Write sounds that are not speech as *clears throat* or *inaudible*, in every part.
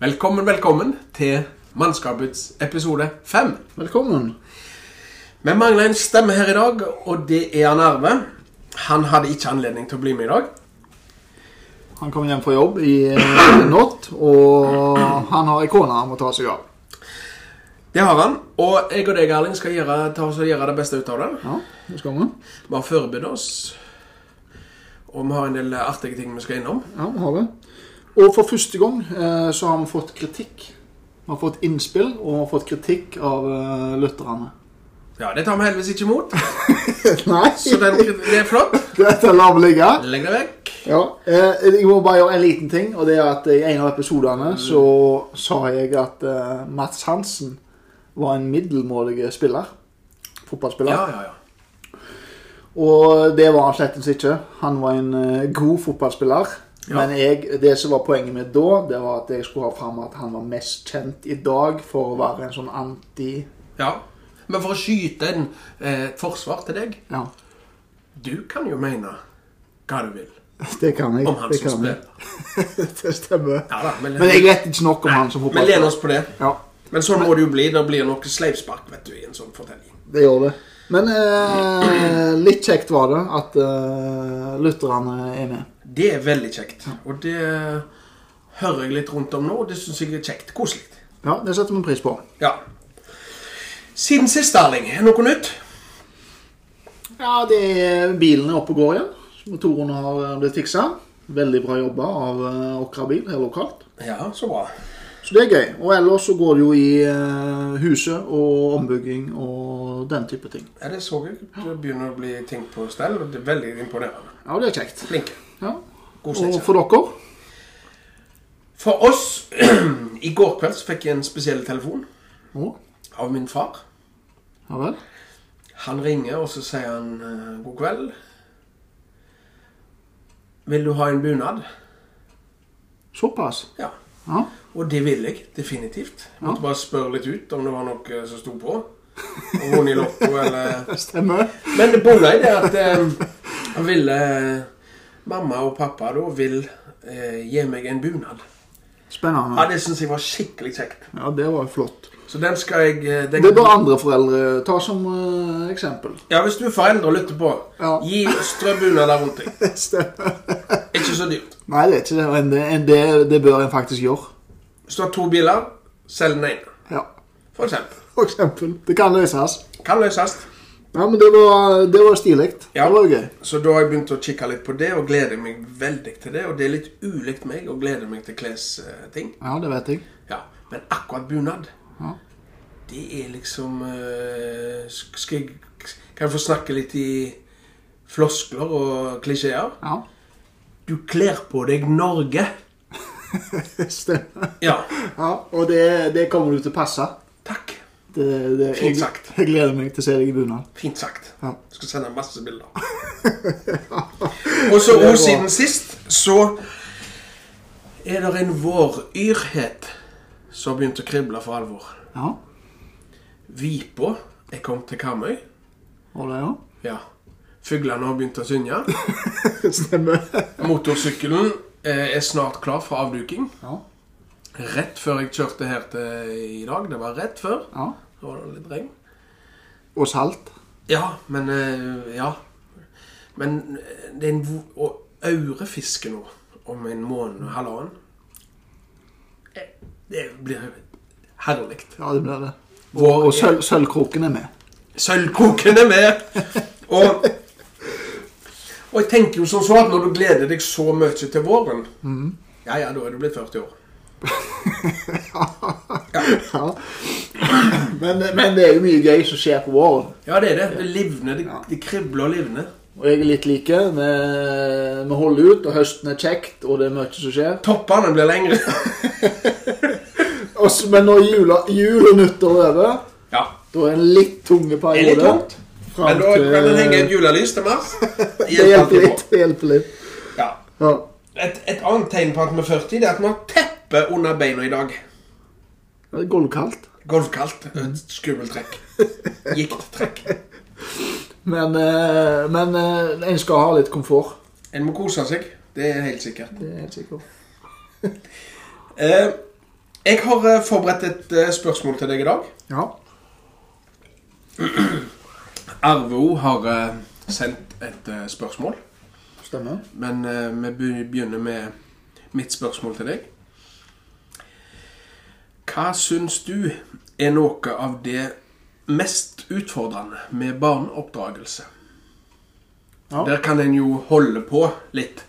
Velkommen, velkommen til Mannskapets episode 5. Velkommen. Vi mangler en stemme her i dag, og det er han Arve. Han hadde ikke anledning til å bli med i dag. Han kom hjem fra jobb i eh, natt, og han har ei kone han må ta seg av. Det har han. Og jeg og deg, Erling, skal gjøre, ta oss og gjøre det beste ut av det. Ja, det skal vi. Vi har forberedt oss, og vi har en del artige ting vi skal innom. Ja, vi har det. Og for første gang eh, så har vi fått kritikk. Vi har fått innspill og vi har fått kritikk av eh, lytterne. Ja, det tar vi heldigvis ikke imot, *laughs* Nei, så *laughs* den, det er flott. dette lar vi ligge. Legg det vekk. Ja, eh, jeg må bare gjøre en liten ting, og det er at eh, i en av episodene så sa jeg at eh, Mats Hansen var en middelmådig spiller. Fotballspiller. Ja, ja, ja. Og det var han slettens ikke. Han var en eh, god fotballspiller. Ja. Men jeg, det som var poenget mitt da, det var at jeg skulle ha fram at han var mest kjent i dag for å være en sånn anti... ja. Men for å skyte en eh, forsvar til deg Ja, *laughs* Du kan jo mene hva du vil det kan jeg. om han det som kan jeg. spiller. *laughs* det stemmer. Ja da, men, Men jeg vet ikke nok om han som vi lener fotballspiller. oss på det. Ja, Men sånn må det jo bli. Det blir noe sleivspark vet du, i en sånn fortelling. det gjør det. Men eh, litt kjekt var det at eh, lytterne er med. Det er veldig kjekt. Og det eh, hører jeg litt rundt om nå, og det syns jeg er kjekt. Koselig. Ja, det setter vi pris på. Ja. Siden sist, Erling. er Noe nytt? Ja, det er, bilen er oppe og går igjen. Motoren har eh, blitt fiksa. Veldig bra jobba av eh, Åkra bil her lokalt. Ja, så bra. Så det er gøy. Og ellers så går det jo i eh, huset og ombygging og den type ting. Ja, Det så jeg. Det begynner å bli ting på stell. og Det er veldig imponerende. Ja, det er kjekt. Flinke. Ja. God Og snitt. for dere? For oss *clears throat* I går kveld så fikk jeg en spesiell telefon Å, av min far. ja vel. Han ringer, og så sier han eh, god kveld. Vil du ha en bunad? Såpass? Ja. Ja. Og det vil jeg definitivt. Jeg måtte bare spørre litt ut om det var noe eh, som sto på. Om hun i lotto *laughs* eller Stemmer. Men det bonde i det at eh, han ville eh, Mamma og pappa da vil eh, gi meg en bunad. Ja, Spennende. Det syns jeg var skikkelig kjekt. Ja, det var flott. Så den skal jeg eh, den, Det bør andre foreldre ta som eh, eksempel. Ja, Hvis du er foreldre og lytter på, Ja. gi strø bunader rundt deg. Stemmer. Ikke så dyrt. Nei, det er ikke det. Men det, en- det, det bør en faktisk gjøre. Hvis du har to biler, selg den ene. Ja. For eksempel. For eksempel. Det kan løses. Kan løses. Ja, men det var, det var stilig. Ja. Det var jo gøy. Så da har jeg begynt å kikke litt på det, og gleder meg veldig til det. Og det er litt ulikt meg å glede meg til klesting. Ja, det vet jeg. Ja. Men akkurat bunad, Ja. det er liksom eh, sk- Skal jeg Kan jeg få snakke litt i floskler og klisjeer? Ja, Du kler på deg Norge. *laughs* stemmer. Ja. Ja, og det, det kommer du til å passe. Takk. Det, det, Fint sagt. Jeg, jeg gleder meg til å se deg i bunad. Fint sagt. Ja. Skal sende masse *laughs* bilder. Og så Det er og bra. siden sist så er det en våryrhet som har begynt å krible for alvor. Ja, Vipa er kommet til Karmøy. og det, ja. Ja. Fuglene har begynt å synge. *laughs* Stemmer. Motorsykkelen eh, er snart klar for avduking. Ja, Rett før jeg kjørte her til i dag. Det var rett før. ja. Det var litt regn. Og salt. Ja, men eh, Ja. Men eh, det er en vo- og aurefiske nå om en måned halvannen. Eh, Det blir herlig. Ja, det blir det. Vår- Og sølv, sølvkroken er med. Sølvkoken er med! Og, og jeg tenker jo som så at når du gleder deg så mye til våren Mhm. Ja, ja, da er du blitt 40 år. *laughs* Ja. Men, men det er jo mye gøy som skjer på våren. Ja, det er det. Det livner. Det, det kribler og livner. Og jeg er litt like. Vi, vi holder ut, og høsten er kjekt, og det er mye som skjer. Toppene blir lengre. Og så- men når jula, jul og nyttår er over, Ja. da er det en litt tunge Det er periode. litt tungt. Fram Men da kan en henge til- et julelys til *laughs* mars. Det eh, Det hjelper alltid litt. Det hjelper litt. på. Ja. Ja. Et, et annet tegn på at vi er 40, det er at vi har teppe under beina i dag. Det er gulvkaldt. Golfkaldt. Et Skummelt trekk. Gikt trekk. Men, eh, men eh, en skal ha litt komfort. En må kose seg. Det er helt sikkert. Det er helt sikkert. Eh, jeg har eh, forberedt et eh, spørsmål til deg i dag. Ja. Arvo har eh, sendt et eh, spørsmål. Stemmer. Men eh, vi be- begynner med mitt spørsmål til deg. Hva syns du er noe av det mest utfordrende med barneoppdragelse? Ja. Der kan en jo holde på litt.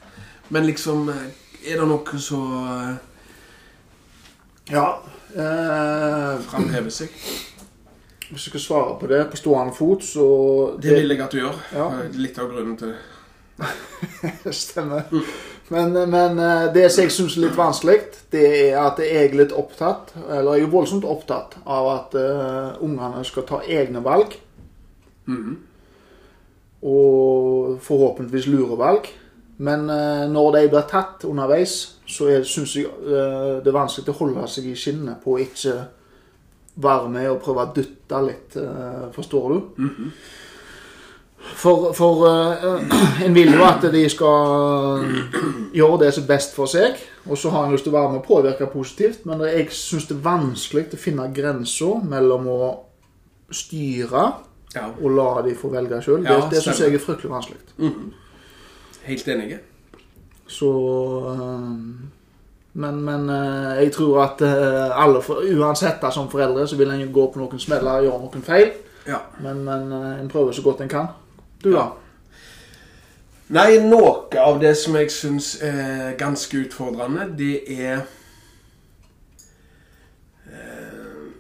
Men liksom eh, Er det noe som eh, Ja. Eh, framhever seg? hvis jeg skal svare på det på stående fot, så Det vil jeg at du gjør. Ja. *laughs* Eh, Litt av grunnen til Stemmer. Men, men eh, det som jeg syns er litt vanskelig, det er at jeg er litt opptatt, eller jeg er voldsomt opptatt, av at eh, ungene skal ta egne valg. Mhm. Og forhåpentligvis lure valg. Men eh, når de blir tatt underveis, så syns jeg eh, det er vanskelig å holde seg i skinnet på å ikke være med og prøve å dytte litt, eh, forstår du? Mhm. For, for eh, en vil jo at de skal gjøre det som er best for seg, og så har en lyst til å være med og påvirke positivt, men jeg syns det er vanskelig å finne grensa mellom å styre Ja, og la de få velge sjøl. Ja, det det syns stemmer. jeg er fryktelig vanskelig. Mhm. helt enige. Så eh, Men, men eh, jeg tror at eh, alle, for, uansett da, som foreldre, så vil en jo gå på noen smeller og gjøre noen feil, Ja. men, men eh, en prøver så godt en kan. Du, da? Nei, noe av det som jeg syns er ganske utfordrende, det er eh,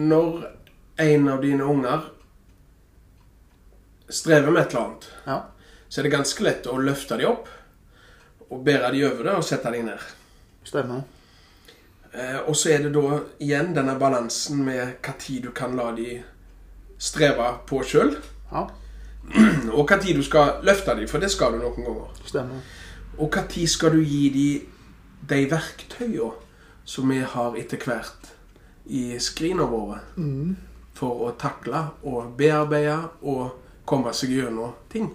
Når en av dine unger strever med et eller annet, Ja. så er det ganske lett å løfte dem opp og bære dem over det og sette dem ned. Stemmer. Eh, og så er det da igjen denne balansen med hva tid du kan la dem streve på sjøl, Ja, og hva tid du skal løfte dem, for det skal du noen ganger. stemmer. Og når skal du gi de de verktøyene som vi har etter hvert i skrina våre Mm, for å takle og bearbeide og komme seg gjennom ting?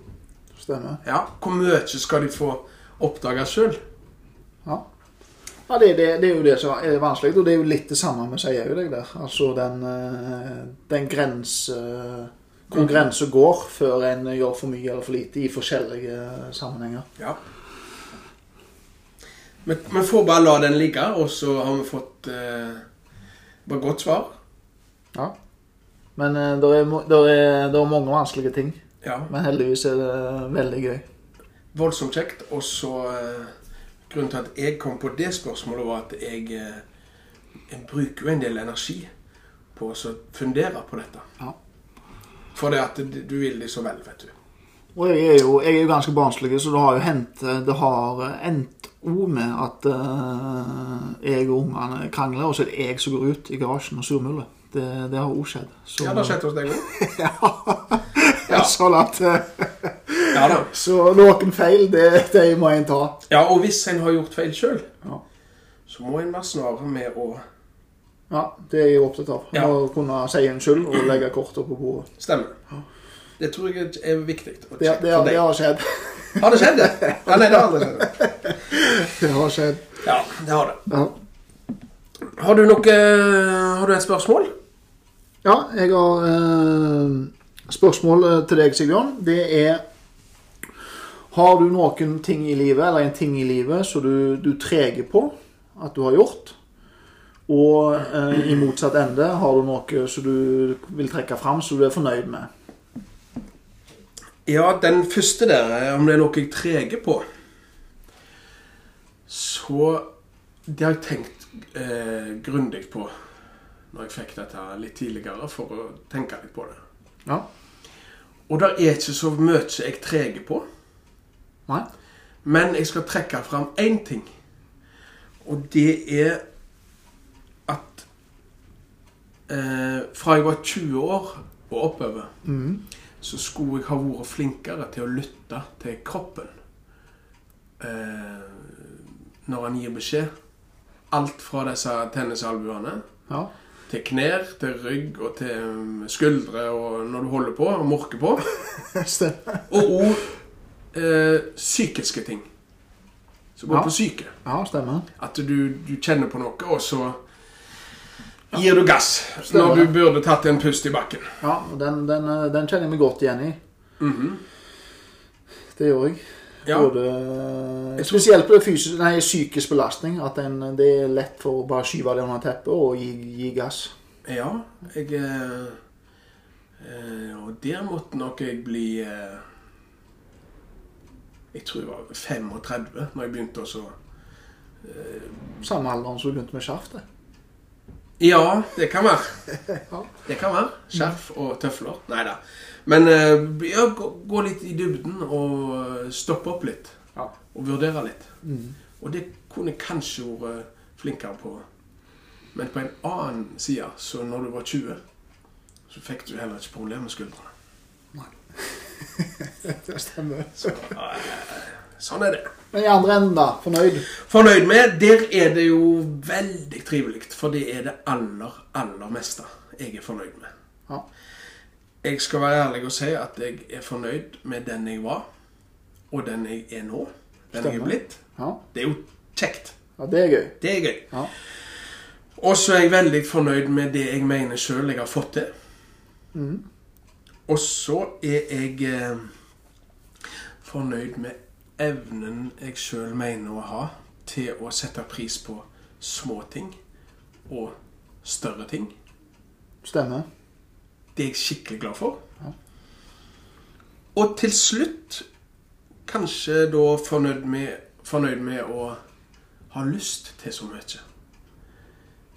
Stemmer. Ja, Hvor mye skal de få oppdage sjøl? Ja, ja det, det, det er jo det som er vanskelig, og det er jo litt det samme vi sier jo deg der. Altså den, eh, den grense, hvor grensen går før en gjør for mye eller for lite i forskjellige eh, sammenhenger. Ja. Vi vi får bare la den ligge, og så har vi fått eh, bare godt svar. Ja. Men det er, mo- der er, der er mange vanskelige ting, Ja, men heldigvis er det veldig gøy. voldsomt kjekt. Og så eh, Grunnen til at jeg kom på det spørsmålet, var at jeg, eh, jeg bruker jo en del energi på å så fundere på dette. Ja. For det at du du vil det så vel, vet du. Og jeg er jo, jeg er jo ganske barnslig, så det har jo hendt eh, Det har endt òg med at eh, jeg og ungene krangler, og så er det jeg som går ut i garasjen og surmuler. Det, det har òg skjedd. Så, Ja, det har *laughs* skjedd hos deg òg. Ja, *laughs* sånn at eh, Ja, da. Så noen feil, det, det må en ta. ja, og hvis en har gjort feil sjøl, Ja. så må en være snar med å Ja, det er jeg opptatt av. Ja. Å kunne si unnskyld og legge kortet på bordet. stemme. Det tror jeg er viktig. og Det, kjekt det, for det deg. har *laughs* skjedd. Har det skjedd, det? Ja, nei, det har aldri skjedd. Det har skjedd. Ja, det har det. Ja. Har du noe eh, Har du et spørsmål? Ja, jeg har eh, spørsmål eh, til deg, Sigbjørn. Det er Har du noen ting i livet, eller en ting i livet, som du, du treger på at du har gjort? Og eh, i motsatt ende, har du noe som du vil trekke fram som du er fornøyd med? Ja, den første der, eh, om det er noe jeg treger på Så Det har jeg tenkt eh, grundig på når jeg fikk dette her litt tidligere, for å tenke litt på det. Ja. Og det er ikke så mye jeg treger på, Nei? men jeg skal trekke fram én ting. Og det er at eh, fra jeg var 20 år og oppover, Mhm. så skulle jeg ha vært flinkere til å lytte til kroppen eh, når han gir beskjed. Alt fra disse tennisalbuene Ja. til knær, til rygg og til um, skuldre og når du holder på og morker på. Stemmer. Og òg eh, psykiske ting. Som går Ja. på psyke. Ja, stemmer. At du, du kjenner på noe, og så gir du gass. Stemmer. Når du burde tatt en pust i bakken. Ja, og den, den, eh, den kjenner jeg meg godt igjen i. Det gjør jeg. Mhm. Ja. Både Spesielt på det fysisk, nei, psykisk belastning. At en, det er lett for å bare skyve det under teppet og gi, gi gass. ja jeg eh, eh, Og der måtte nok jeg bli eh, Jeg tror jeg var 35 når jeg begynte å så Samme alderen som du begynte med skjaftet. Ja, det kan være. Ja. Det kan være. Skjerf og tøfler. Nei da. Men eh, ja, gå, gå litt i dybden og eh, stoppe opp litt. Ja. Og vurdere litt. Mm. Og det kunne jeg kanskje vært eh, flinkere på. Men på en annen side, så når du var 20, så fikk du heller ikke problemer med skuldrene. *laughs* Det stemmer. Sånn er det. Men i andre enden, da. Fornøyd? Fornøyd med. Der er det jo veldig trivelig, for det er det aller, aller meste jeg er fornøyd med. Ja. Jeg skal være ærlig og si at jeg er fornøyd med den jeg var, og den jeg er nå. Den jeg Stemmer. er blitt. Ja, Det er jo kjekt. ja det er gøy. Det er gøy. Ja. Og så er jeg veldig fornøyd med det jeg mener sjøl jeg har fått til. Mhm. Og så er jeg eh, fornøyd med evnen jeg sjøl mener å ha til å sette pris på små ting og større ting. Stemmer. Det er jeg skikkelig glad for. Ja. Og til slutt kanskje da fornøyd med, fornøyd med å ha lyst til så mye.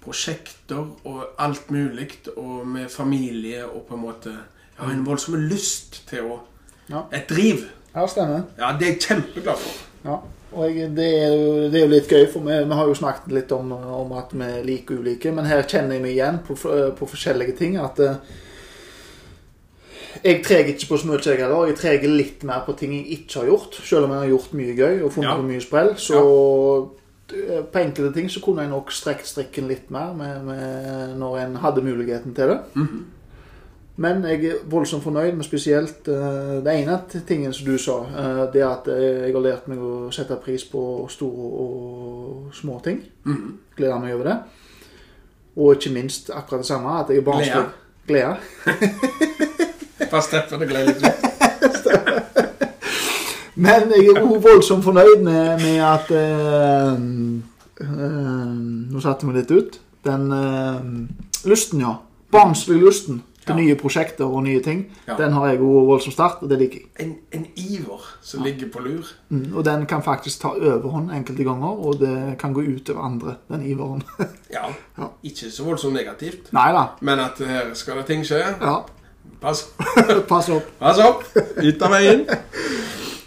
Prosjekter og alt mulig, og med familie og på en måte Jeg har en voldsom lyst til å Mm. Ja. Et driv. Ja, stemmer. Ja, det er jeg kjempeglad for. Ja. Og jeg, det, er jo, det er jo litt gøy, for vi, vi har jo snakket litt om, om at vi liker ulike, men her kjenner jeg meg igjen på, f- på forskjellige ting. At eh, jeg treger ikke på så mye, jeg heller. Jeg treger litt mer på ting jeg ikke har gjort. Selv om jeg har gjort mye gøy og funnet Ja. på mye sprell, så eh, på enkelte ting så kunne jeg nok strekt strikken litt mer med, med, når en hadde muligheten til det. Mhm. Men jeg er voldsomt fornøyd med spesielt eh, det ene t- tingen som du sa. eh, det at eh, jeg har lært meg å sette pris på store og små ting. Mhm. Gleder meg over det. Og ikke minst akkurat det samme, at jeg er barnslig. Glede. Bare Steffen, det gleder jeg meg til. Men jeg er også voldsomt fornøyd med, med at eh, eh, Nå satte vi litt ut. Den eh, lysten, ja. Barnslig lysten til Ja. nye prosjekter og nye ting. Ja. Den har jeg også voldsomt sterkt, og det liker jeg. En, en iver som ligger på lur. Mm, og den kan faktisk ta overhånd enkelte ganger, og det kan gå ut over andre, den *laughs* iveren. Ja, Ja. ikke så voldsomt negativt, Nei da. men at her skal det ting skje. Ja, *laughs* Pass pass opp. Pass opp! Ut av veien!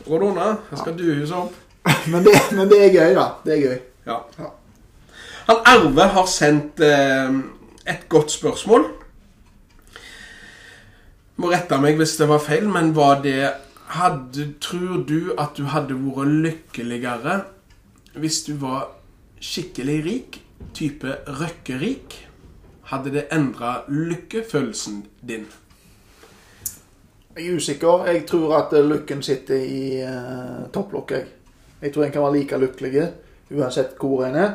Råd unna. Her skal du huset opp. Men det, men det er gøy, da. Det er gøy. Ja. Ja. Han Arve har sendt eh, et godt spørsmål. Må rette meg hvis det var feil, men var det hadde, Tror du at du hadde vært lykkeligere hvis du var skikkelig rik, type røkkerik? Hadde det endra lykkefølelsen din? Jeg er usikker. Jeg tror at eh, lykken sitter i eh, topplokket. jeg. Jeg tror en kan være like lykkelig uansett hvor en er.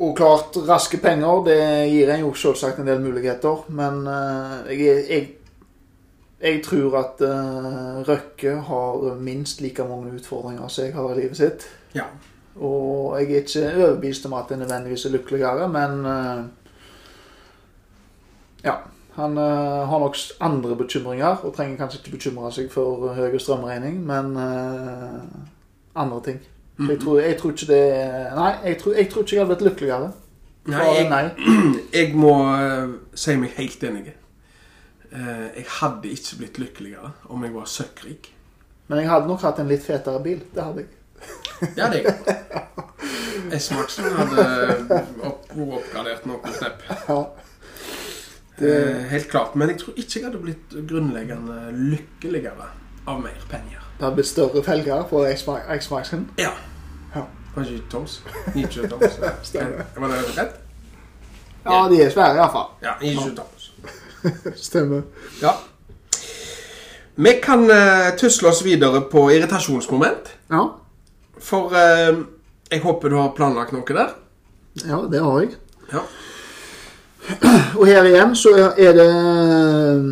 Og klart, raske penger det gir en jo selvsagt en del muligheter, men eh, jeg, jeg, jeg tror at eh, Røkke har minst like mange utfordringer som jeg har i livet sitt. Ja. Og jeg er ikke overbevist om at han nødvendigvis er lykkeligere, men eh, Ja. Han eh, har nok s- andre bekymringer, og trenger kanskje ikke bekymre seg for eh, høy strømregning, men eh, andre ting. Så jeg, tror, jeg tror ikke det Nei, jeg tror, jeg tror ikke jeg hadde blitt lykkeligere. Nei, Svaret er jeg, nei. *clears throat* jeg må eh, si meg helt enig. Eh, jeg hadde ikke blitt lykkeligere om jeg var søkkrik. Men jeg hadde nok hatt en litt fetere bil. Det hadde jeg. Det hadde *laughs* jeg. S-Maxen hadde eh, opp, oppgradert noen knepp. Ja. Det, Eh, helt klart. Men jeg tror ikke jeg hadde blitt grunnleggende lykkeligere av mer penger. det hadde blitt større felger på X-Maxen. Ja. Ja. *laughs* Kanskje ikke Toms. Eh, Nietzsche Toms. Stemmer. Var det rett? Ja, de er svære iallfall. Ja, ikke utdannelse. *laughs* Stemmer. Ja. Vi kan eh, tusle oss videre på irritasjonsmoment. Ja. For eh, jeg håper du har planlagt noe der. ja, det har jeg. Ja. Og her igjen så er det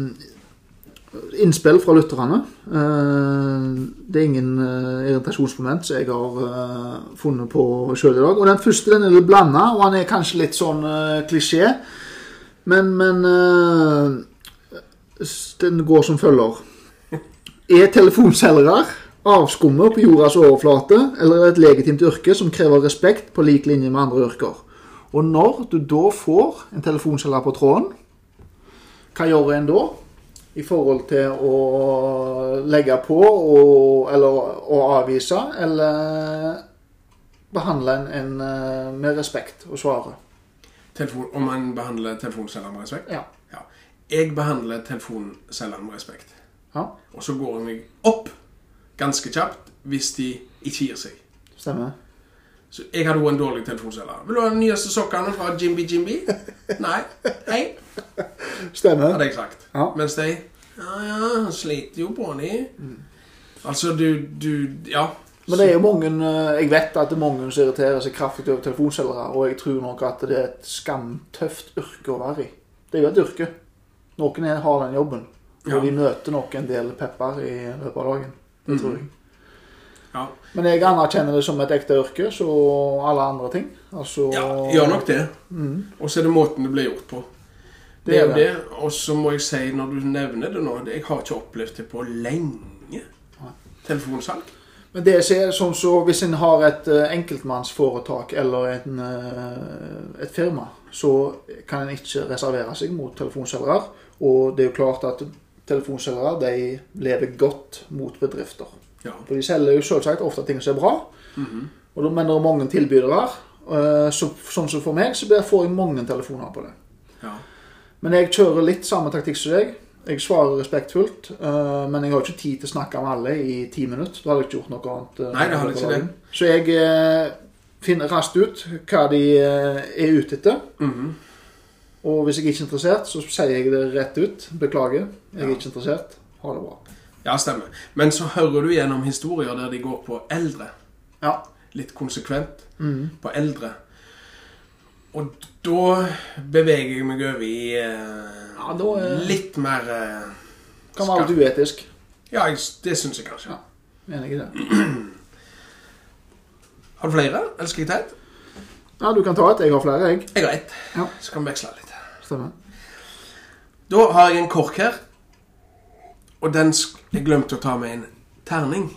eh, innspill fra lytterne. Eh, Det er ingen eh, irritasjonsmoment som jeg har eh, funnet på sjøl i dag. Og den første den er litt blanda, og han er kanskje litt sånn eh, klisjé. Men, men eh, s- Den går som følger. Er telefonselgere avskummet på jordas overflate, eller er det et legitimt yrke som krever respekt på lik linje med andre yrker? Og når du da får en telefonselger på tråden, hva gjør en da? I forhold til å legge på og, eller å avvise, eller behandle en, en eh, med respekt og svare. Telefon, om man behandler telefonselgeren med respekt. Ja. Ja. Jeg behandler telefonselgeren med respekt. ja, Og så går jeg meg opp ganske kjapt hvis de ikke gir seg. stemmer. Så jeg hadde også en dårlig telefonselger. Vil du ha den nyeste sokkene fra Jimby *laughs* Jimby? Nei. Hei, Stemmer. hadde jeg sagt. Ja. Mens de Ja, ja, han sliter jo på de. Altså, du, du Ja. Mm. Men det er jo mange, eh, jeg vet at det er mange som irriterer seg kraftig over telefonselgere, og jeg tror nok at det er et skamtøft yrke å være i. Det er jo et yrke. Noen er- har den jobben, og Ja. de møter nok en del pepper i løpet av dagen. Det Mm. tror jeg. Ja. Men jeg anerkjenner det som et ekte yrke, så alle andre ting. Altså, Mm. Ja, gjør nok det. Og så er det måten det blir gjort på. Det er jo det. det. Og så må jeg si, når du nevner det nå det- Jeg har ikke opplevd det på lenge. Telefonsalg. Men det som er sånn så hvis en har et eh, enkeltmannsforetak eller en, eh, et firma, så kan en ikke reservere seg mot telefonselgere. Og det er jo klart at telefonselgere de lever godt mot bedrifter. Ja. For de selger jo selvsagt ofte ting som er bra, og da men det er mange tilbydere. eh, Så, sånn som for meg, så blir- får jeg mange telefoner på det. ja. Men jeg kjører litt samme taktikk som deg. Jeg svarer respektfullt, eh, men jeg har ikke tid til å snakke med alle i ti minutter. Da hadde jeg ikke gjort noe annet. eh, Nei, det hadde på ikke dagen. Så jeg eh, finner raskt ut hva de eh, er ute etter. Mhm. Og hvis jeg ikke er interessert, så sier jeg det rett ut. Beklager, jeg er Ja. ikke interessert. Ha det bra. ja, stemmer. Men så hører du gjennom historier der de går på eldre. Ja. Litt konsekvent på eldre. Og da beveger jeg meg over i eh, Ja, da er- litt mer eh, Kan være litt uetisk. Ja, jeg, det syns jeg kanskje. Ja. Enig i det. Har du flere? Eller skal jeg ta et? Ja, du kan ta et. Jeg har flere, jeg. Jeg har ett. Ja. Så kan vi veksle litt. Stemmer. Da har jeg en kork her. Og den sk Jeg glemte å ta med en terning.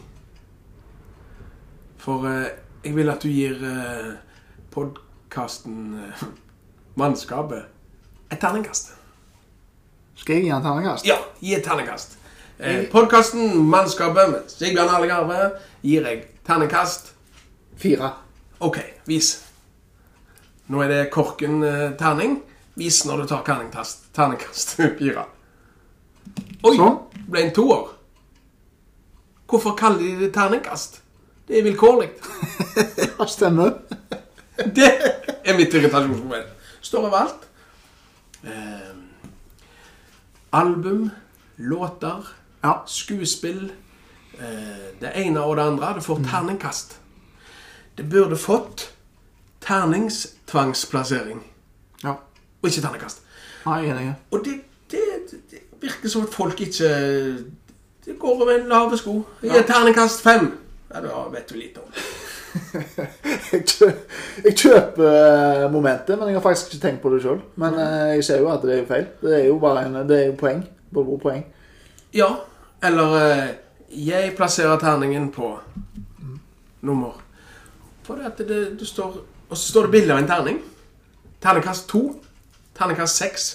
For eh, jeg vil at du gir eh, podkasten eh, *laughs* Mannskapet et terningkast. Skal jeg gi en terningkast? Ja, gi et terningkast. Eh, podkasten Mannskapet med Sigbjørn Arne Garve gir jeg terningkast. Fire. *laughs* OK, vis. Nå er det korken eh, terning. Vis når du tar terningkast, terningkast *laughs* fire. Oi! Sånn. Ble en toer. Hvorfor kaller de det terningkast? Det er vilkårlig. Ja, stemmer. Det er mitt irritasjonsmoment. Står overalt. Eh, album, låter, Ja. skuespill eh, Det ene og det andre. Det får terningkast. Det burde fått terningstvangsplassering, ja. og ikke terningkast. Nei, jeg er enig. Og det, det, det virker som at folk ikke Det går over en lave sko. Jeg gir terningkast fem. Ja, det vet du lite om. jeg, kjø- jeg kjøper eh, momentet, men jeg har faktisk ikke tenkt på det sjøl. Men eh, jeg ser jo at det er jo feil. Det er jo bare en, det er jo poeng. Bare hvor poeng. Ja, eller eh, Jeg plasserer terningen på nummer. For det at det, det står Og så står det bilde av en terning. Terningkast to. Terningkast seks.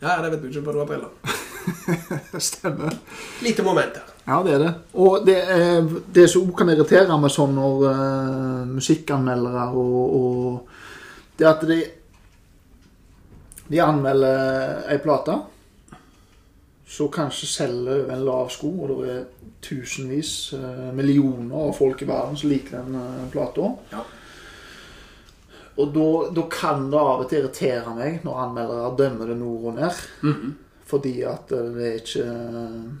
Ja, det vet du ikke, for du har briller. Stemmer. Lite moment der. Ja, det er det. Og det, er, det som også kan irritere meg sånn når eh, musikkanmeldere og, og Det at de De anmelder ei plate, så kanskje selger over en lav sko, og det er tusenvis, eh, millioner av folk i verden som liker den uh, plata. Ja. Og da- da kan det av og til irritere meg når anmeldere dømmer det nord og ned. Mhm. Fordi at eh, det er ikke eh,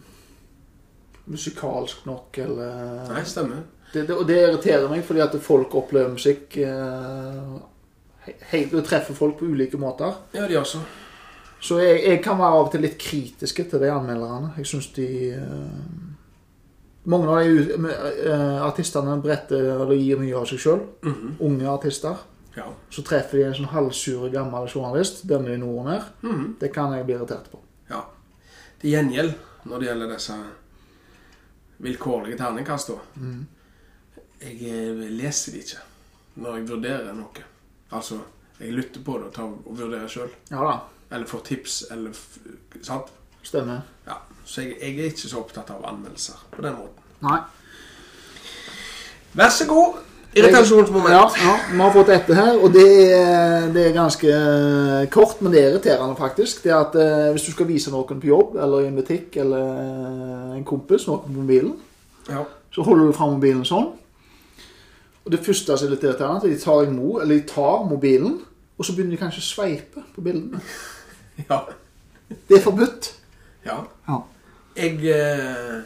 musikalsk nok, eller Nei, stemmer. det, det, og det irriterer meg, fordi at folk opplever musikk eh, he- helt, Du treffer folk på ulike måter. Ja, de også. Så jeg, jeg kan være av og til litt kritiske til de anmelderne. Jeg syns de eh, Mange av de u- eh, artistene bretter eller gir mye av seg sjøl. Mhm. Unge artister. Ja. Så treffer de en sånn halvsure gammel journalist. Dømmer de noe ned. Mhm. Det kan jeg bli irritert på. ja. Til gjengjeld, når det gjelder disse vilkårlige terningkast, da Mm. Jeg eh, leser de ikke når jeg vurderer noe. Altså, jeg lytter på det og, tar, og vurderer sjøl. Ja da. Eller får tips, eller f Sant? Stemmer. Ja. Så jeg, jeg er ikke så opptatt av anmeldelser på den måten. Nei. Vær så god! Irritasjonsmoment. Ja, ja, vi har fått dette her, og det er, det er ganske eh, kort, men det er irriterende faktisk. Det er at eh, hvis du skal vise noen på jobb, eller i en butikk, eller eh, en kompis noen på mobilen, Ja. så holder du fram mobilen sånn. Og det første som er litt irriterende, er at de tar, imot, eller de tar mobilen, og så begynner de kanskje å sveipe på bildene. Ja. Det er forbudt. ja. Ja. Jeg eh,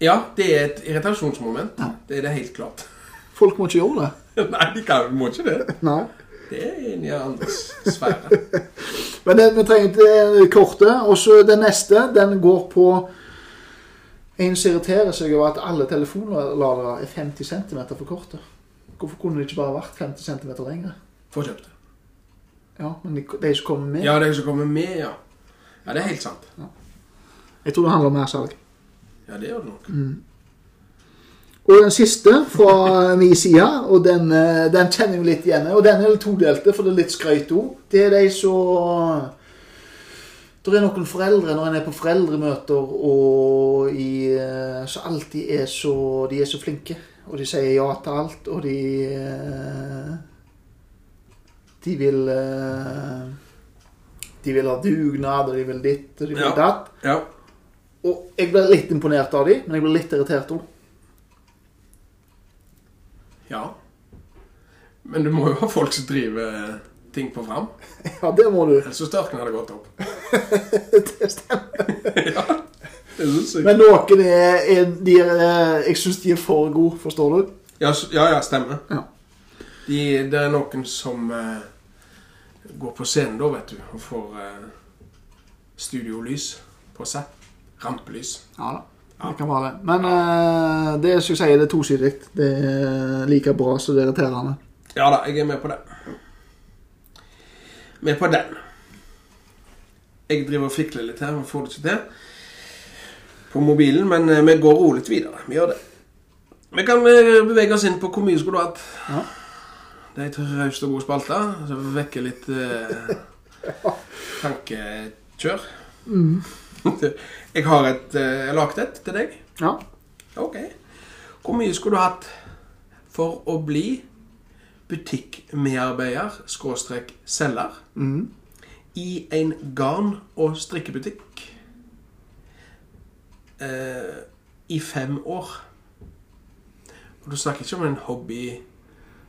Ja, det er et irritasjonsmoment. Ja. Det er det helt klart. *laughs* Folk må ikke gjøre det. Nei, de kan, må ikke det. Nei. Det er inni andres sfære. Men det, vi trenger eh, det korte. Og så den neste, den går på En som irriterer seg over at alle telefonladere er 50 cm for korte. Hvorfor kunne det ikke bare vært 50 cm lengre? Få kjøpt det. Ja, men de, de som kommer med Ja, det som kommer med, ja. Ja, det er helt sant. Jeg tror det handler om mer salg. Ja, det gjør det nok. Mm. Og den siste fra *laughs* min side, og den, eh, den kjenner jeg litt igjen. i, Og den er litt todelte, for det er litt skrøyt òg. Det er de som Det er noen foreldre når en er på foreldremøter og i, eh, så alltid er så De er så flinke, og de sier ja til alt, og de eh, De vil eh, De vil ha dugnad, og de vil ditt, og de vil Ja. datt. Ja. Og jeg blir litt imponert av dem, men jeg blir litt irritert òg. ja. Men du må jo ha folk som driver eh, ting på fram. Ja, det må du. *laughs* Ellers så størkner det godt opp. *laughs* Det stemmer. ja. Det synes jeg. Men noen er, er, de er eh, Jeg syns de er for gode, forstår du? Ja, s- ja, ja stemmer. Ja. De, det er noen som eh, går på scenen da, vet du, og får eh, studiolys på seg. Rampelys. Ja da. Ja. Det kan være det. Men eh, det er, som jeg sier, det er tosidig. Det er eh, like bra som det er irriterende. Ja da, jeg er med på det. Med på den. Jeg driver og fikler litt her, og får det ikke til på mobilen, men eh, vi går rolig videre. Vi gjør det. Vi kan eh, bevege oss inn på hvor mye skulle du hatt. Ja. Det er en raust og god spalte, så vi vekker litt eh, tankekjør. *laughs* jeg har et, eh, jeg har lagd et til deg. Ja. Ok. Hvor mye skulle du hatt for å bli butikkmedarbeider, skråstrek selger, Mhm. i en garn- og strikkebutikk eh, i fem år? Og du snakker ikke om en hobby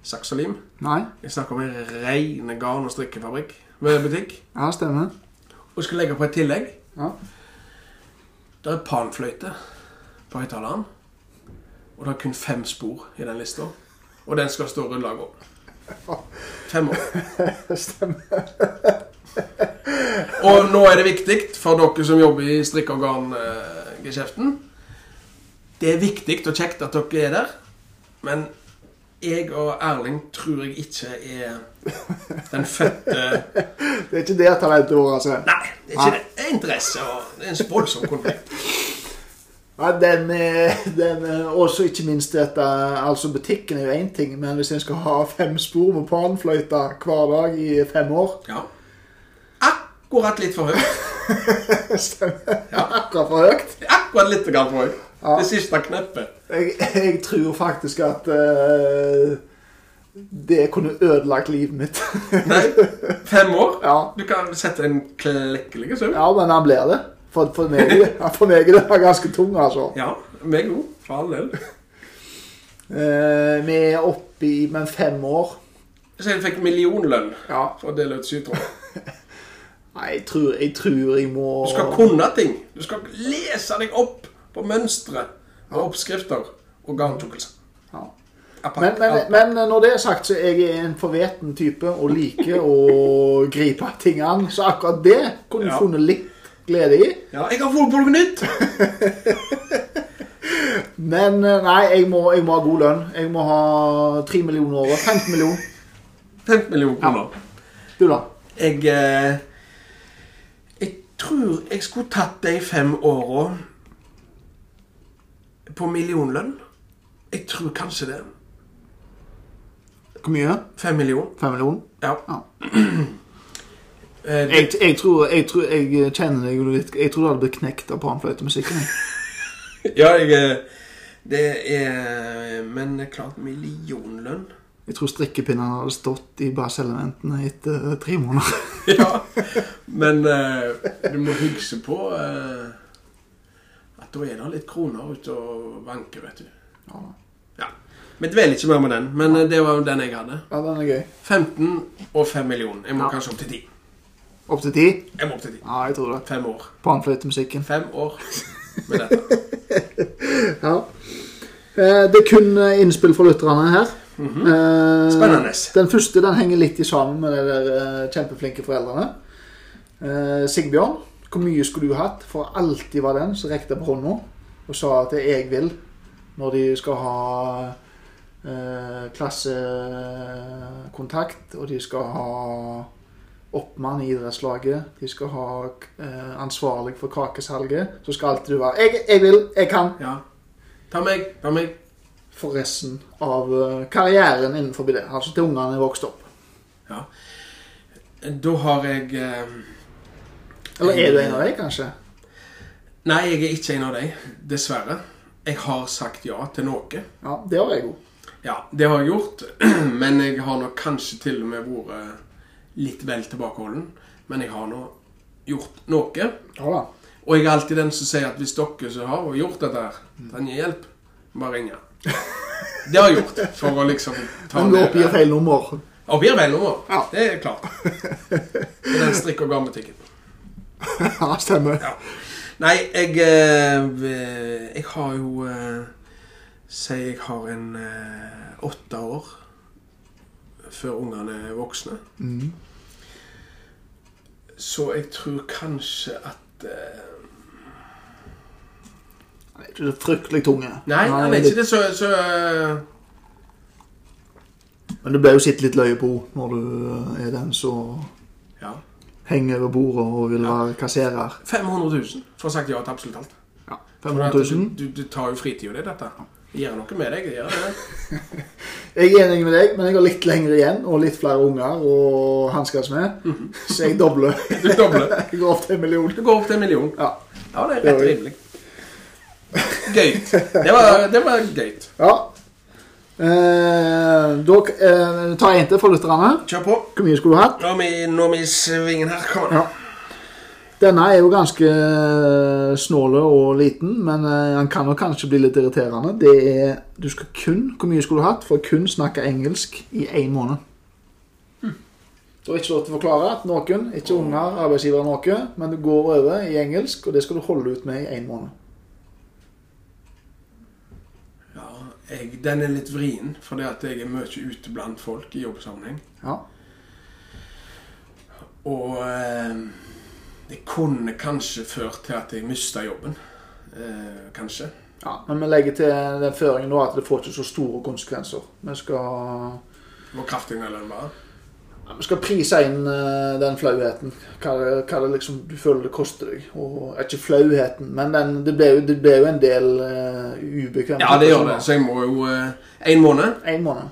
saks og lim. Nei. Jeg snakker om en ren garn- og strikkefabrikk med butikk. Ja, stemmer. Og skal legge på et tillegg. Ja. Det er panfløyte på høyttaleren. Og det er kun fem spor i den lista. Og den skal stå rullag om. Fem år. stemmer. Og nå er det viktig for dere som jobber i strikkeorgangeskjeften. Det er viktig og kjekt at dere er der, men jeg og Erling tror jeg ikke er den fødte Det er ikke det talentet vårt, altså. Nei, det er ikke det. Det er interesse og det er en voldsom konflikt. Ja, den, eh, den eh, Også ikke minst dette Altså, butikken er jo én ting, men hvis en skal ha fem spor med panfløyte hver dag i fem år *laughs* Ja. Akkurat litt for høyt. Stemmer. Ja. Akkurat for høyt. Akkurat litt grann for høyt. Ja. Det siste kneppet. Jeg, jeg tror faktisk at eh, det kunne ødelagt livet mitt. *laughs* Nei, fem år? Ja. Du kan sette en klekkelig søvn. Ja. ja, men han blir det. For, for, *laughs* meg, er det- ja, for meg er det ganske tung, altså. meg òg, for all del. Eh, vi er oppe i men fem år. Så jeg fikk millionlønn Ja. for å dele ut sytråd. Nei, jeg tror jeg, tror jeg må Du skal kunne ting. Du skal lese deg opp på mønstre og oppskrifter og garntjukkelse. ja. Appa- men, men, men når det er sagt, så er jeg en forveten type og liker å gripe tingene. Så akkurat det kunne du Ja. funnet litt glede i. Ja, jeg har funnet på noe nytt! Men eh, nei, jeg må, jeg må ha god lønn. Jeg må ha 3 millioner over. 15 millioner. 15 millioner kroner. Du, da? Jeg eh, Jeg tror jeg skulle tatt de fem åra på millionlønn. Jeg tror kanskje det. Hvor mye? Fem millioner. 5 millioner? Ja. Ja. *clears throat* Eh, det- Jeg, jeg, tror, jeg tror jeg kjenner deg jo litt Jeg tror du hadde blitt knekt av panfløytemusikken. Ja, jeg eh, Det er Men det er klart millionlønn. *laughs* Jeg tror strikkepinnene hadde stått i baseelementene etter eh, tre måneder. Ja. Men eh, du må huske på eh, at da er det litt kroner ute og vanker, vet du. Ja, Ja. Vi dveler ikke mer med den, men eh, det var jo den jeg hadde. den er gøy. 15 og 5 millioner. Jeg må Ja. kanskje opp til 10. Opp til ti? Jeg må opp til 10. Ja, jeg tror det. Fem år. Panfløytemusikken. Fem år med dette. Ja. Eh, Det er kun eh, innspill fra lytterne her. Eh, Mhm. Spennende. Den første den henger litt i sammen med de der eh, kjempeflinke foreldrene. Eh, Sigbjørn, hvor mye skulle du hatt for å alltid være den som rekte opp hånda og sa at det er jeg vil, når de skal ha eh, klassekontakt, og de skal ha oppmann i idrettslaget, de skal ha eh, ansvarlig for kakesalget, så skal alltid du være jeg, 'Jeg vil, jeg kan' Ja. Ta meg, ta meg. for resten av eh, karrieren innenfor det. Altså til ungene er vokst opp. Ja. Da har jeg eh, Eller er du en av dem, kanskje? Nei, jeg er ikke en av deg, dessverre. Jeg har sagt ja til noe. Ja, det har jeg jo. Ja, det har jeg gjort, *clears throat* men jeg har nok kanskje til og med vært litt vel tilbakeholden. Men jeg har nå gjort noe. Ja da. Og jeg er alltid den som sier at hvis dere som har gjort dette her, Mm. trenger hjelp, bare ringe. Det har jeg gjort, for å liksom ta Men du oppgir det. feil nummer. *laughs* Oppgir feil nummer. Ja. Det er klart. I den strikk- og garnbutikken. ja, stemmer. Ja. Nei, jeg eh, Jeg har jo eh, Si jeg har en eh, åtte år før ungene er voksne. Mm. Så jeg tror kanskje at eh, Han er ikke så fryktelig tunge. Nei, han er litt- ikke det, så, så eh, Men du ble jo sittet litt løye på når du eh, er den som Ja. henger over bordet og vil være kasserer. 500 000 for å ha sagt ja til absolutt alt. Ja. For at 500 Du, 000. du, du tar jo fritida di, dette. Det gjør noe med deg. det gjør det. Jeg er enig med deg, men jeg har litt lengre igjen og litt flere unger å hanskes med. Mhm. *laughs* Så jeg dobler. Du dobler. Jeg går opp til en million. Du går opp til en million. Ja. Ja, det er Det rett var- rimelig. Gøy. Det var, det var gøy. Ja. Eh, da eh, tar jeg en til for lytterne. Kjør på. Hvor mye skulle du hatt? Nå er vi, nå er vi i svingen her. Kom an. Ja. Denne er jo ganske eh, snåle og liten, men eh, han kan jo kanskje bli litt irriterende. Det er du skal kun, Hvor mye skulle du hatt for å kun snakke engelsk i én måned? Du har ikke lov til å forklare at noen, ikke unger, arbeidsgiver noe, men du går over i engelsk, og det skal du holde ut med i én måned. Ja, jeg, den er litt vrien, fordi at jeg er mye ute blant folk i jobbsammenheng. Ja. Og eh, det kunne kanskje ført til at jeg mista jobben. Eh, kanskje. ja. Men vi legger til den føringen nå at det får ikke så store konsekvenser. Vi skal Det var kraftig eller bare. Ja, Vi skal prise inn eh, den flauheten. Hva det, hva det liksom du føler det koster deg. Og ikke flauheten, men den, det, ble jo, det ble jo en del uh, ubekvemme Ja, det gjør det. Så jeg må jo én måned. En måned.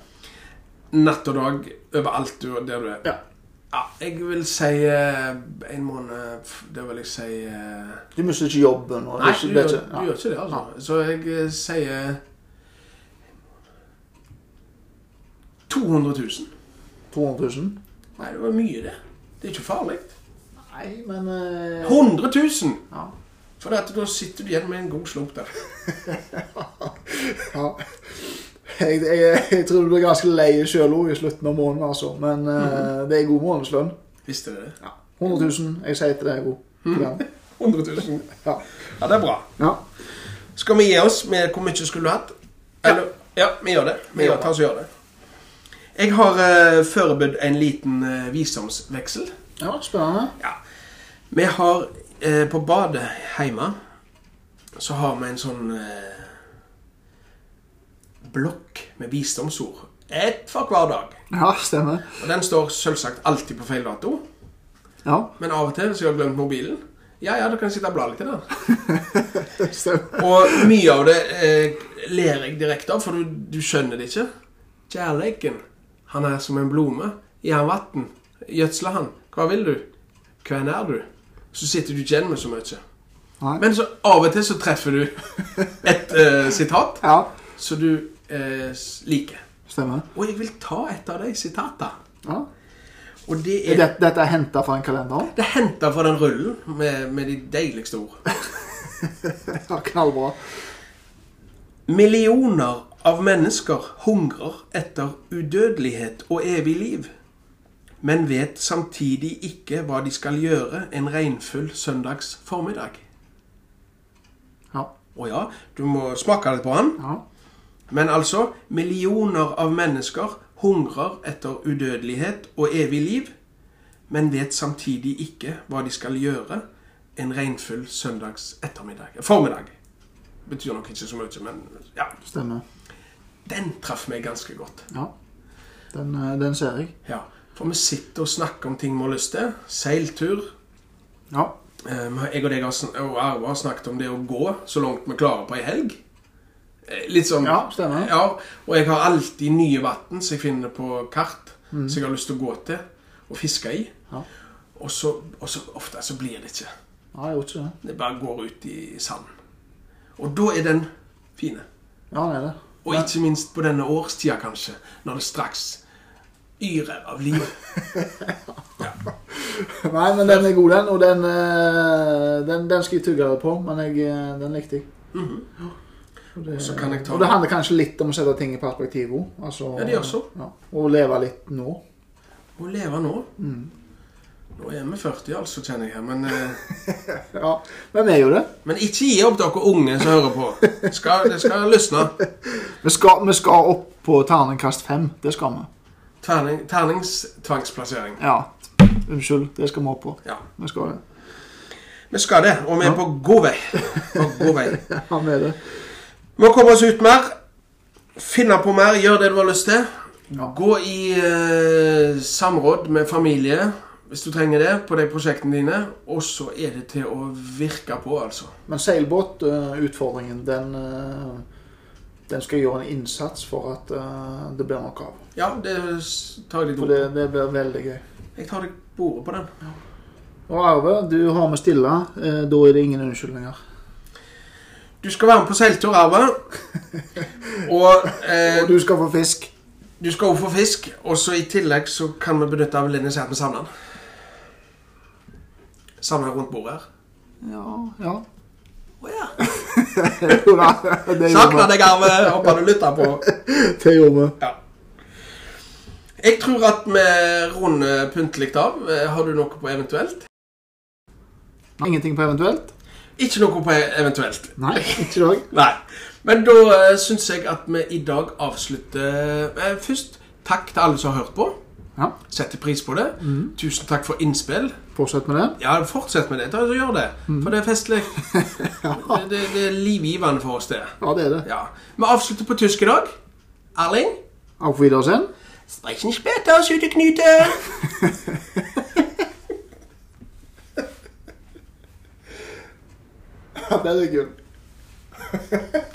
Natt og dag overalt du, der du er. Ja. Ja, jeg vil si én måned f- Det vil jeg si eh, Du mister ikke jobben. Og Nei, det, du, det, gjør, det, du gjør ikke det, altså. Så jeg eh, sier 200 000. ja, 200 000. Nei, det var mye, det. Det er ikke farlig. Nei, men eh, 100 000! ja. For at da sitter du igjen med en god slump der. Ja. Jeg, jeg, jeg tror du blir ganske lei sjøl òg i slutten av måneden, altså. Men Mhm. eh, det er god månedslønn. Visste dere det? 100 000. Jeg sier til deg, jeg Mhm. òg. 100 000. Ja. Ja, det er bra. ja. Skal vi gi oss med hvor mye skulle du hatt? Eller, ja. vi gjør det. Vi gjør, tar oss og gjør det. Jeg har eh, forberedt en liten eh, visdomsveksel. ja spennende. Ja. Vi har eh, På badet hjemme så har vi en sånn eh, blokk med visdomsord. Ett for hver dag. Ja, stemmer. Og Den står selvsagt alltid på feil dato. *laughs* Ja, Men av og til så har jeg glemt mobilen. Ja, ja, da kan jeg sitte og bla litt i den. stemmer. Og mye av det eh, ler jeg direkte av, for du, du skjønner det ikke. Kjærleiken, han er som en blome. Gi han vann. Gjødsle han. Hva vil du? Hvem er du? Så sitter du ikke igjen med så mye. Nei. Men så av og til så treffer du et eh, sitat Ja, som du eh, s- liker. stemmer. Og jeg vil ta et av de sitatene. Ja. Og det Er er dette, dette er henta fra en kalender? Det er henta fra den rullen med, med de deiligste ord. *laughs* Ja, knallbra. Millioner av mennesker hungrer etter udødelighet og evig liv, men vet samtidig ikke hva de skal gjøre en regnfull søndags formiddag. Ja. Å ja, du må smake litt på den. ja. Men altså, millioner av mennesker hungrer etter udødelighet og evig liv, men vet samtidig ikke hva de skal gjøre en regnfull søndags ettermiddag. Formiddag. Betyr nok ikke så mye, men ja. Stemmer. Den traff meg ganske godt. Ja. Den, eh, den ser jeg. Ja, For vi sitter og snakker om ting vi har lyst til. Seiltur. Ja. Eh, vi har- Jeg og deg har sn- og Arve har snakket om det å gå så langt vi klarer på ei helg. Eh, Litt sånn Ja, stemmer. Ja, Og jeg har alltid nye vann som jeg finner på kart, som jeg har lyst til å gå til og fiske i. Mm. Ja. Og så, og så ofte så blir det ikke. Nei, jeg gjorde ikke det. Det bare går ut i sanden. Og da er den fine. Ja, det er det. Og ikke minst på denne årstida, kanskje, når det straks yrer av liv. *laughs* Nei, men den er god, den. Og den, eh, den, den skal jeg tygge litt på, men jeg, eh, den likte jeg. Og det, Mhm. Så kan jeg ta- og det handler kanskje litt om å sette ting i perspektiv òg. Altså, Ja, det gjør så. Ja, og leve litt nå. Å leve nå. Mm. Nå er vi 40, altså, kjenner jeg. Men, eh, Ja, Men vi er jo det. men ikke gi opp dere unge som hører på. Skal, det skal lysne. Vi skal, vi skal opp på terningkast fem. Det skal vi. Terning, terningstvangsplassering. Ja. Unnskyld. Det skal vi opp på. Ja. Vi skal det. Vi skal det, og vi er på god vei. På god vei. Ja, vi er det. Vi må komme oss ut mer. Finne på mer. Gjør det du har lyst til. Ja. Gå i eh, samråd med familie hvis du trenger det, på de prosjektene dine. Og så er det til å virke på, altså. Men seilbåtutfordringen, den, eh, den skal gjøre en innsats for at eh, det blir nok av. Ja, det tar jeg For litt det, det blir veldig gøy. Jeg tar deg på ordet på den. Og Arve, du har med stille. eh, Da er det ingen unnskyldninger. Du skal være med på seiltur, Arve. Og eh, Og du skal få fisk. du skal også få fisk. Og så i tillegg så kan vi benytte av Linnes her med Sandland. Samle rundt bordet her. Ja, ja. *laughs* Å ja. Jo da, det gjorde Savner deg, Arve. Håper du lytter på. vi. Det gjorde vi. Ja. Jeg tror at vi runder pyntelig av. Eh, Har du noe på eventuelt? Ingenting på eventuelt? Ikke noe på eventuelt. Nei, ikke i dag. Nei. Men da eh, syns jeg at vi i dag avslutter eh, Først takk til alle som har hørt på. Ja, setter pris på det. Tusen takk for innspill. Fortsett med det. Ja, fortsett med det. Ta, gjør det. For det er festlig. det, det, det er livgivende for oss, det. Ja, det er det. Ja. Vi avslutter på tysk i dag. Erling? Auf Wiedersehen. Sprechen später, Süte Knute! Ja, det er gull.